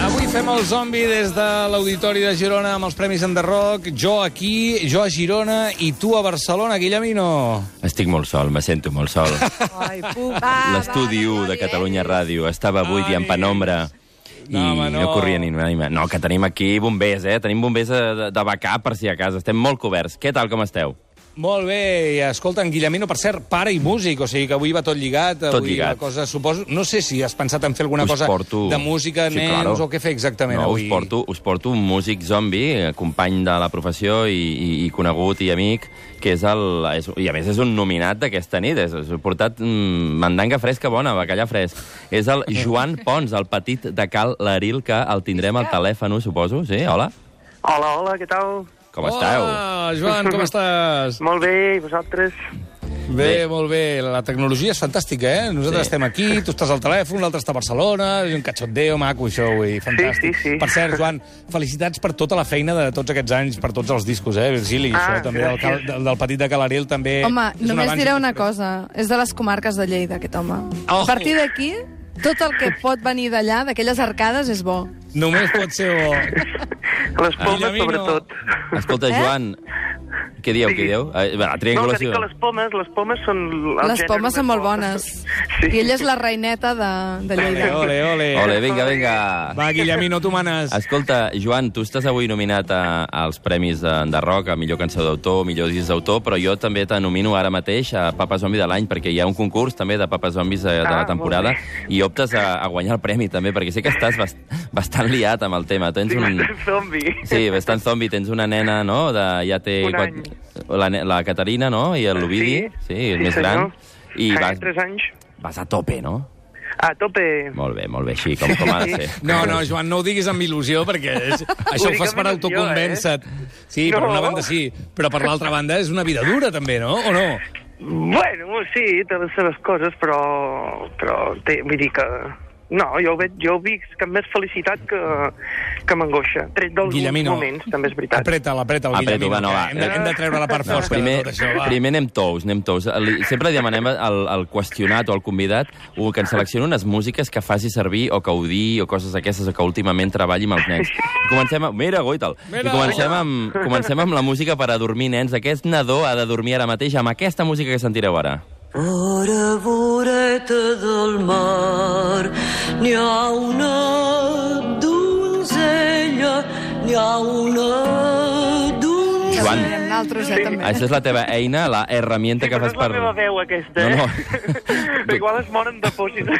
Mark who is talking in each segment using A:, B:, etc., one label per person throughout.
A: Avui fem el zombi des de l'Auditori de Girona amb els Premis Enderroc. Jo aquí, jo a Girona i tu a Barcelona, Guillemino.
B: Estic molt sol, me sento molt sol.
C: Ai, puc. Va,
B: L'estudi
C: va,
B: 1 de
C: David.
B: Catalunya Ràdio estava avui
A: Ai.
B: dia en penombra i
A: No, home, no.
B: no corria ni una ànima. No, que tenim aquí bombers, eh? Tenim bombers eh, de, de backup, per si a casa. Estem molt coberts. Què tal, com esteu?
A: Molt bé, i escolta, en Guillemino, per cert, pare i músic, o sigui que avui va tot lligat.
B: Tot
A: avui
B: lligat.
A: La cosa, suposo, no sé si has pensat en fer alguna
B: Us
A: cosa
B: porto-
A: de música,
B: Sí,
A: nens,
B: claro.
A: o què fer exactament
B: No,
A: avui.
B: us porto, us porto un músic zombi, eh, company de la professió i, i, i conegut i amic, que és el... És, I a més és un nominat d'aquesta nit. És, és portat mm, mandanga fresca bona, bacallà fresc. És el Joan Pons, el petit de Cal Laril, que el tindrem al telèfon, suposo. Sí, hola.
D: Hola, hola, què tal?
B: Com esteu?
A: Hola, Joan, com estàs?
D: Molt bé, i vosaltres?
A: Bé, molt bé. La tecnologia és fantàstica, eh? Nosaltres
B: Sí.
A: estem aquí, tu estàs al telèfon, l'altre està a Barcelona, és un cachondeo maco, això, avui. Fantàstic.
D: sí, sí.
A: Per cert, Joan, felicitats per tota la feina de tots aquests anys, per tots els discos, eh, Virgili?
D: Ah,
A: això també del, cal,
D: gràcies.
A: del, del petit de Calariel també...
C: Home,
A: és un
C: només
A: abans i
C: diré
A: un
C: una
A: després.
C: cosa. És de les comarques de Lleida, aquest home.
A: Oh.
C: A partir d'aquí, tot el que pot venir d'allà, d'aquelles arcades, és bo.
A: Només pot ser bo.
D: Les pomes,
A: Guillemino.
D: sobretot.
B: Escolta,
C: Eh?
B: Joan, què dieu, què dieu? Eh, va,
D: No, que dic
B: triangulació.
D: que les pomes, les pomes són... el
C: Les
D: gènere
C: pomes
D: de
C: són molt bones.
D: pomes. Sí.
C: I ella és la reineta de, de
A: Ole,
C: Lleida.
A: ole, ole.
B: Ole, vinga, vinga.
A: Va, Guillemino, tu manes.
B: Escolta, Joan, tu estàs avui nominat a, als Premis de, de Rock, a millor cançó d'autor, millor disc d'autor, però jo també te nomino ara mateix a Papa Zombi de l'any, perquè hi ha un concurs també de Papa Zombis eh, de, de
D: Ah,
B: la
D: molt
B: temporada,
D: bé.
B: i optes a, a guanyar el premi també, perquè sé que estàs bast bastant liat amb el tema. Tens
D: Dic,
B: un...
D: bastant zombi.
B: Sí, bastant zombi. Tens una nena, no?, de, ja té...
D: Un
B: quat- La, ne- la Caterina, no?, i l'Ovidi, sí, és més gran.
D: I
B: I vas,
D: 3 anys.
B: vas a tope, no?
D: A tope.
B: Molt bé, molt bé, així, com, com ha de ser.
A: No, no, Joan, no ho diguis amb il·lusió, perquè és, això ho fas per
D: Únicament il·lusió, eh?
A: autoconvèncer-te. Sí, per
D: No.
A: una banda sí, però per l'altra banda és una vida dura, també, no? O no?
D: Bueno, sí, té les seves coses, però... però té, vull dir que... No, jo ho veig, jo ho veig que amb més felicitat que, que m'angoixa. Tret d'alguns
A: Guillemino.
D: moments, també és veritat.
A: Apreta'l, apreta'l,
B: Apreto,
A: Guillemino,
B: va, no,
A: que
B: va.
A: Hem de, hem de treure la part
B: No,
A: fosca
B: primer,
A: de tot això, va.
B: primer anem tous, anem tous. Li- Sempre li demanem al, al qüestionat o al convidat o que ens seleccioni unes músiques que faci servir o que ho digui o coses d'aquestes o que últimament treballi amb els nens. I comencem amb... Mira, Goital! I
A: Mira,
B: comencem
A: Goital.
B: amb, comencem amb la música per a dormir, nens. Aquest nadó ha de dormir ara mateix amb aquesta música que sentireu ara.
E: Vora, voreta del mar, n'hi ha una donzella, n'hi ha una donzella.
B: Joan.
C: Nosaltres, eh, també.
B: Això és la teva eina, la herramienta
D: Sí,
B: que
D: però
B: fas
D: és la
B: per...
D: meva veu, aquesta,
B: No,
D: eh?
B: no.
D: Igual es moren de por si no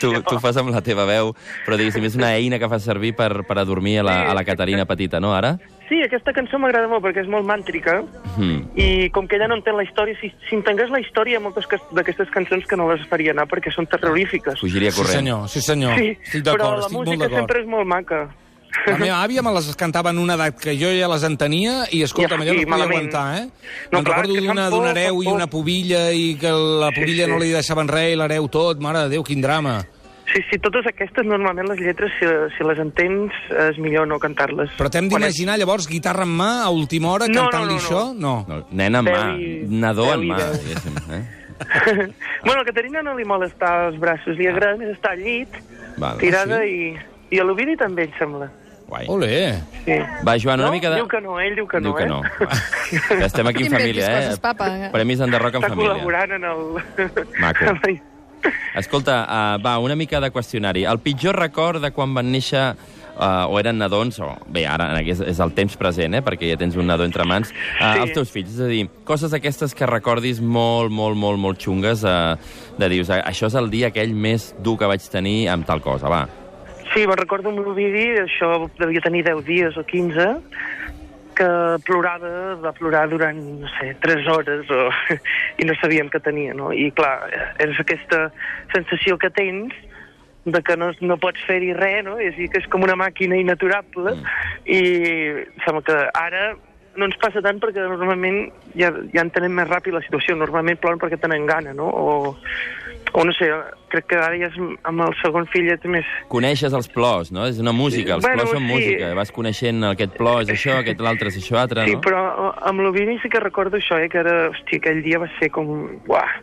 B: Tu, tu fas amb la teva veu, però diguéssim, és una eina que fas servir per, per adormir a la, a la Caterina petita, no, ara?
D: Sí, aquesta cançó m'agrada molt perquè és molt màntrica
B: Mm.
D: i com que ella no entén la història, si, si entengués la història hi ha moltes cas- d'aquestes cançons que no les faria anar perquè són terrorífiques.
B: Fugiria
A: Sí,
B: corrent.
A: senyor, sí, senyor.
D: Sí,
A: estic
D: però
A: d'acord,
D: la
A: estic molt
D: música
A: d'acord.
D: sempre és molt maca.
A: La meva àvia me les cantava en una edat que jo ja les entenia i, escolta,
D: Ja,
A: allò no
D: i
A: es podia
D: malament.
A: aguantar, eh?
D: No,
A: Me'n
D: clar,
A: recordo
D: que fan
A: d'una
D: por,
A: d'un hereu
D: fan
A: i una
D: por.
A: pubilla i que la
D: Sí,
A: pubilla no
D: sí.
A: li deixaven res i l'hereu tot. Mare de Déu, quin drama.
D: Sí, sí, totes aquestes, normalment les lletres, si, si les entens, és millor no cantar-les.
A: Però t'hem
D: Quan
A: d'imaginar, llavors, guitarra en mà, a última hora,
D: No, no,
A: cantant-li
D: no, no.
A: això? No. no.
B: No, nena en mà,
D: Veu i-
B: nadó
D: veu
B: en
D: i
B: mà,
D: veu.
B: diguéssim. Eh?
D: bueno, a Caterina no li molesta els braços,
A: Ah.
D: li agrada més estar al llit,
B: Val.
D: tirada i... I a l'Ovidi també, em sembla.
B: Guai.
A: Ole.
D: Sí.
B: Va, Joan, una
D: no?
B: mica de...
D: Diu que no, ell diu que
B: Diu
D: no,
B: que
D: eh?
B: no. Va. Que estem aquí en
C: Quin bé,
B: família,
C: quines
B: eh?
C: coses, papa.
B: Premis enderroc en
D: Està
B: família.
D: col·laborant en el...
B: Maco.
D: en la-
B: Escolta, uh, va, una mica de qüestionari. El pitjor record de quan van néixer uh, o eren nadons, o bé, ara en aquest- és el temps present, eh, perquè ja tens un nadó entre mans, uh,
D: Sí.
B: els teus fills, és a dir, coses aquestes que recordis molt, molt, molt, molt xungues, uh, de dius, "Ah, això és el dia aquell més dur que vaig tenir amb tal cosa, va.
D: Sí, me'n recordo un vídeo, això devia tenir 10 dies o 15, que que plorava, va plorar durant, no sé, tres hores o, i no sabíem què tenia, no? I clar, eh, és aquesta sensació que tens de que no, no pots fer-hi res, no? És a dir, que és com una màquina inaturable i sembla que ara no ens passa tant perquè normalment ja, ja entenem més ràpid la situació. Normalment ploren perquè tenen gana, no? O, o no sé, crec que ara ja és, amb el segon fill ja és més,
B: Coneixes els plors, no? És una música, els
D: Bueno,
B: plors són
D: sí.
B: música. Vas coneixent aquest plor és això, aquest l'altre és això altre,
D: Sí,
B: no?
D: però eh, amb l'Ovini sí que recordo això, eh, que era, hòstia, aquell dia va ser com... Uah.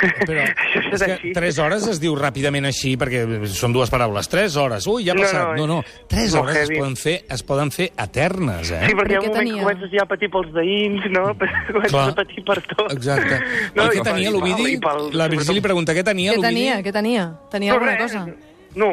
A: Però
D: això
A: és que 3 hores es diu ràpidament així, perquè són dues paraules. 3 hores, ui, ja ha
D: No,
A: passat.
D: no,
A: No, no,
D: és
A: 3
D: molt
A: hores es
D: heavy.
A: poden, fer, es poden fer eternes, eh? Mm.
D: Sí, perquè hi
C: Però què
D: ha un moment que
C: tenia?
D: comences ja a patir pels veïns, no? comences
A: Clar.
D: a patir per tot.
A: Exacte. No, I què
D: i pel-
A: tenia
D: i
A: l'Ovidi?
D: pel- i pel-
A: La Virgili pregunta, què tenia
C: Què
A: l'Ovidi?
C: tenia, què tenia? Tenia alguna
D: res,
C: cosa?
D: eh,
C: Ah,
D: No,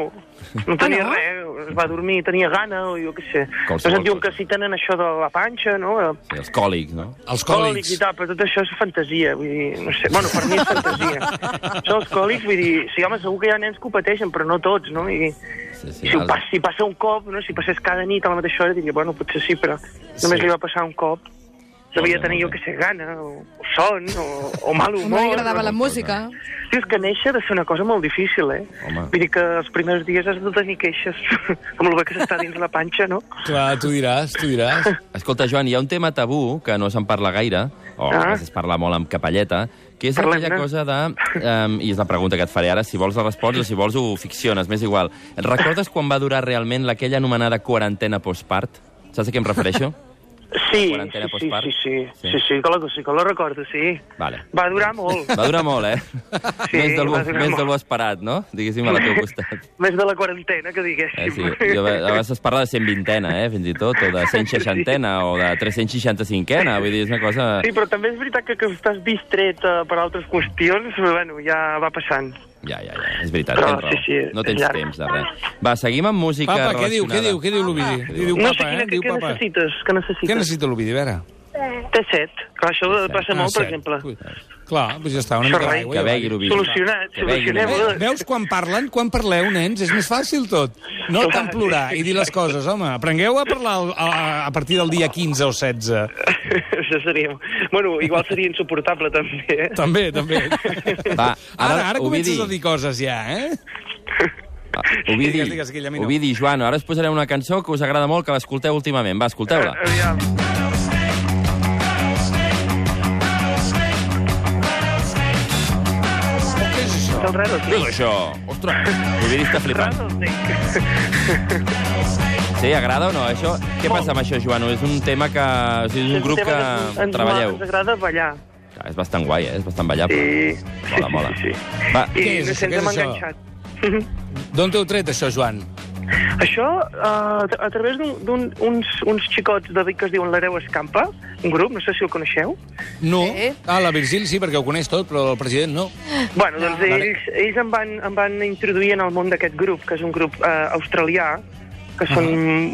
D: no tenia
C: no?
D: res, es va dormir, tenia gana, o jo què sé.
B: Qualsevol
D: Però se'n diu
B: cosa.
D: que si tenen això de la panxa, no? Eh,
B: Sí, els còlics, no?
A: Els
D: Còlics
A: còlics.
D: i tal, però tot això és fantasia, vull dir, no sé, bueno, per mi és fantasia. això dels còlics, vull dir, sí, home, segur que hi ha nens que ho pateixen, però no tots, no? I,
B: Sí, sí,
D: Si, ho
B: els-
D: pas, si passa un cop, no? si passés cada nit a la mateixa hora, diria, bueno, potser sí, però sí. només li va passar un cop. Devia
B: bé,
D: tenir, jo
B: molt
D: que
B: bé.
D: sé, gana, o, o son, o, o mal humor.
C: No li agradava la
D: o...
C: música.
D: Sí, és que néixer ha de ser una cosa molt difícil, eh?
B: Home.
D: Vull dir que els primers dies has de tenir queixes, com el bé que s'està dins la panxa, no?
A: Clar, tu diràs, tu diràs.
B: Escolta, Joan, hi ha un tema tabú que no se'n parla gaire, o ah.
D: Ah.
B: es parla molt amb capelleta, que és
D: Parlem-ne.
B: aquella cosa de... Um, I és la pregunta que et faré ara, si vols la resposta o si vols ho ficciones, m'és igual. Et recordes quan va durar realment aquella anomenada quarantena postpart? Saps a què em refereixo?
D: Sí,
B: Quarantena
D: sí, sí,
B: postpart.
D: sí, sí,
B: Sí.
D: sí, sí, que la, sí, que la recordo, sí.
B: Vale.
D: Va durar molt.
B: Va durar molt, eh?
D: Sí,
B: més del,
D: va durar
B: més
D: molt.
B: del bo esperat, no? Diguéssim, a la teva costat.
D: Més de la quarantena, que diguéssim.
B: Eh, sí. Jo, a vegades es parla de 120ena, eh, fins i tot, o de 160ena, o de 365ena, vull dir, és una cosa...
D: Sí, però també és veritat que, que estàs distret eh, per altres qüestions, però, bueno, ja va passant.
B: Ja, ja, ja, és veritat,
D: Però,
B: tens raó.
D: sí, sí, és
B: no tens
D: llarg.
B: temps de res. Va, seguim amb música
A: Papa, què diu, què
B: relacionada.
A: diu, què diu l'Ovidi? Què Diu
D: no sé
A: papa,
D: quina,
A: eh?
D: què,
A: Diu
D: què
A: papa.
D: necessites, què necessites.
A: Què necessita l'Ovidi, a veure?
D: T7, clar, això
B: Ah,
D: passa molt, per
A: cert.
D: exemple.
A: Ui, Clar, doncs ja està, una
D: Això
A: mica
D: res.
A: d'aigua.
B: Que
A: ja
B: begui
A: va.
B: l'Ovidi.
D: Solucionat,
B: Que begui
D: solucionem.
B: l'Ovidi.
A: Ve- Veus quan parlen, quan parleu, nens, és més fàcil tot. No
D: Clar.
A: tant plorar i dir les coses, home. Aprengueu a parlar al- a, a partir del dia 15 o 16.
D: això seria... Bueno, igual seria insuportable, també, eh?
A: També, també.
B: Va, ara,
A: Ara, ara
B: Ovidi.
A: comences a dir coses ja, eh?
B: Ah, Ovidi,
A: Digues, digues, Guillemino.
B: Ovidi, Joan, ara us posarem una cançó que us agrada molt, que l'escolteu últimament. Va, escolteu-la.
D: Aviam.
A: Què és això?
D: El Rattlesnake.
B: això. Ostres, Ovidi està flipant.
D: Rattlesnake.
B: Sí, agrada o no? Això, què passa amb això, Joan? És un tema que... O sigui, és un grup
D: tema
B: que
D: ens- ens
B: treballeu.
D: Ens agrada ballar.
B: Clar, És bastant guai, eh? És bastant ballable.
D: Sí.
B: Mola, mola.
D: Sí, sí,
B: Va,
D: I
A: Què és
D: ens
A: això? Què és
D: hem
A: això?
D: enganxat.
A: D'on t'heu tret, això, Joan?
D: Això, eh, a través d'un- d'un- uns, uns xicots de Vic que es diuen l'Hereu Escampa, un grup, no sé si el coneixeu.
A: No.
C: Sí.
A: Ah, la Virgili sí, perquè ho coneix tot, però el president no.
D: Bueno, doncs ells, ells em, van, em van introduir en el món d'aquest grup, que és un grup eh, australià, que són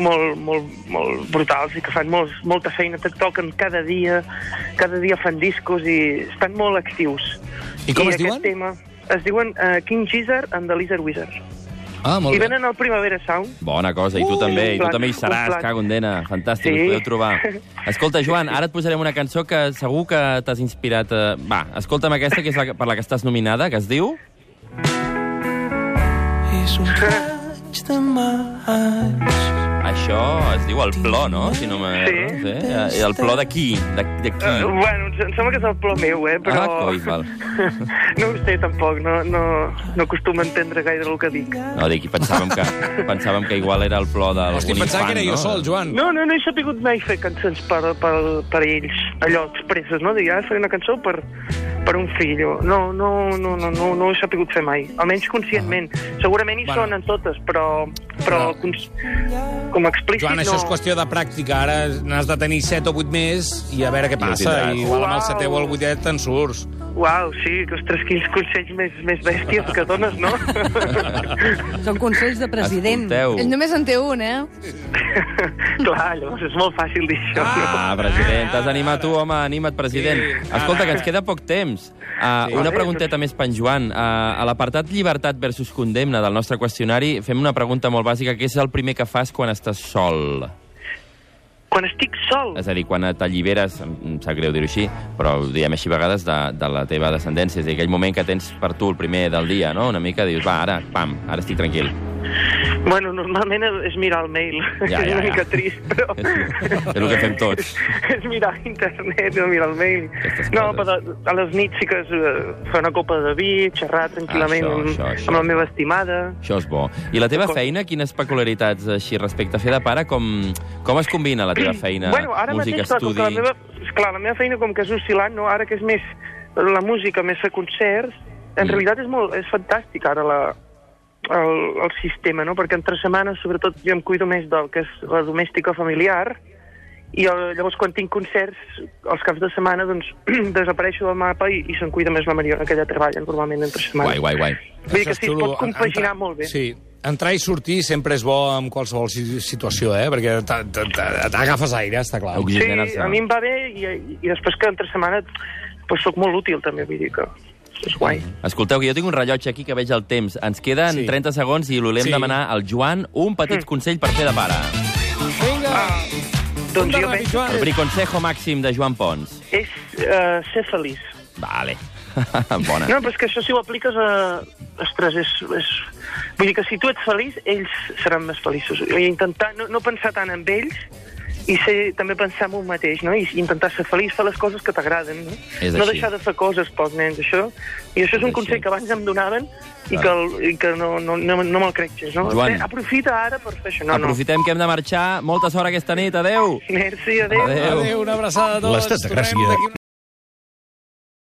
D: molt, molt, molt brutals i que fan molts, molta feina, te toquen cada dia, cada dia fan discos i estan molt actius.
A: I com es
D: aquest
A: diuen?
D: Tema, es diuen uh, King Gizzard and the Lizard Wizard.
A: Ah, molt
D: I
A: bé.
D: venen al Primavera Sound.
B: Bona cosa, i tu
D: Uh,
B: també, i tu
D: un
B: també hi
D: plat, un
B: seràs,
D: plat.
B: cago en dena, fantàstic,
D: Sí.
B: us podeu trobar. Escolta, Joan, ara et posarem una cançó que segur que t'has inspirat... eh, Va, escolta'm aquesta, que és la, que- per la que estàs nominada, que es diu...
F: És un raig de maig.
B: Això es diu el plor, no? Si no me...
D: Sí.
B: Eh, El plor de qui? De, de qui?
A: Ah.
D: Eh, bueno, em sembla que és el plor meu, eh? Però...
B: Ah, coi, val.
D: no ho sé, tampoc. No, no, no acostumo a entendre gaire el que dic.
B: No, dic, pensàvem que, pensàvem que igual era el plor d'algun
A: Hosti,
B: infant,
A: pensava que era
B: no?
A: jo sol, Joan.
D: No, no, no he sabut mai fer cançons per, per, per ells, allò, expresses, no? Dir, ah, faré una cançó per, per un fill. o- No, no, no, no, no, no ho he sabut fer mai, almenys conscientment. Segurament hi
A: Bueno.
D: sonen totes, però, però
A: No.
D: cons... com explícit
A: Joan, això
D: no.
A: és qüestió de pràctica. Ara n'has de tenir 7 o 8 més i a veure què passa.
B: tindràs.
A: I igual amb el
D: Uau.
A: 7 o el 8 te'n surts.
D: Uau, sí, que, ostres, quins consells més, més bèsties que dones, no?
E: Són consells de president.
B: Escolteu.
C: Ell només en té un, eh?
D: Clar, llavors és molt fàcil dir això.
B: Ah, president, t'has animat tu, home, anima't, president. Escolta, que ens queda poc temps. Uh, una pregunteta més per en Joan. Uh, a l'apartat llibertat versus condemna del nostre qüestionari fem una pregunta molt bàsica, que és el primer que fas quan estàs sol.
D: Quan estic sol.
B: És a dir, quan t'alliberes, em em sap greu dir-ho així, però ho diem així a vegades, de, de la teva descendència. És a dir, aquell moment que tens per tu el primer del dia, no? Una mica dius, va, ara, pam, ara estic tranquil.
D: Bueno, normalment és- és mirar el mail,
B: Ja,
D: és
B: ja,
D: una
B: ja.
D: mica trist, però...
B: És el que fem tots.
D: és mirar internet, no mirar el mail.
B: Aquestes
D: No,
B: coses.
D: però a les nits sí que és eh, fer una copa de vi, xerrar tranquil·lament
B: Això,
D: amb,
B: això, això.
D: amb la meva estimada.
B: Això és bo. I la teva
D: Com-
B: feina, quines peculiaritats així respecte a fer de pare, com, com es combina la teva feina?
D: bueno, ara
B: música,
D: mateix, clar, com
B: estudi...
D: que la meva, clar, la meva feina com que és oscil·lant, no? ara que és més la música, més a concerts, en
B: Mm.
D: realitat és, molt, és fantàstic ara la, el, el sistema, no? perquè entre setmanes, sobretot, jo em cuido més del que és la domèstica familiar, i eh, llavors quan tinc concerts els caps de setmana doncs desapareixo del mapa i, i se'n cuida més la Mariona que ella treballa normalment entre setmana
B: Guai, guai, guai.
D: Vull dir
A: Això
D: que
A: és
D: sí, es
A: xulo.
D: pot compaginar
A: Entrar-
D: molt bé
A: Sí. Entrar i sortir sempre és bo en qualsevol si- situació, eh? Perquè t'a- t'a- t'a- t'agafes aire, està clar.
B: Oxi-
D: Sí,
B: Generar-se.
D: a mi em va bé i, i després que entre setmana pues, sóc molt útil també, vull dir que és guai.
B: Mm. Escolteu, que jo tinc un rellotge aquí que veig el temps. Ens queden
A: Sí.
B: sí. 30 segons i l'olem
A: Sí.
B: sí. demanar al Joan un petit mm. consell per fer de pare.
A: Vinga!
D: Doncs jo
A: ràpid,
D: penso
A: Joan.
B: El briconsejo màxim de Joan Pons.
D: és uh, ser feliç.
B: Vale. Bona.
D: No, però és que això si ho apliques a... Ostres, és, és... Vull dir que si tu ets feliç, ells seran més feliços. I intentar no, no pensar tant en ells i ser, també pensar en un mateix, no? I intentar ser feliç, fer les coses que t'agraden, no?
B: És
D: no
B: així.
D: deixar de fer coses pels nens, això. I això és,
B: És
D: un consell
B: així.
D: que abans em donaven i que, el, i que no, no, no, no me'l crec, gens, no?
B: Joan.
D: Eh, Aprofita ara per fer això.
B: No,
D: No,
B: no. Aprofitem que hem de marxar. Molta sort aquesta nit. Adeu.
D: no. Merci, adéu.
B: Adéu.
A: Adéu, una abraçada a tots.
G: L'estat de
A: Tornem
G: Gràcia
A: d'aquí una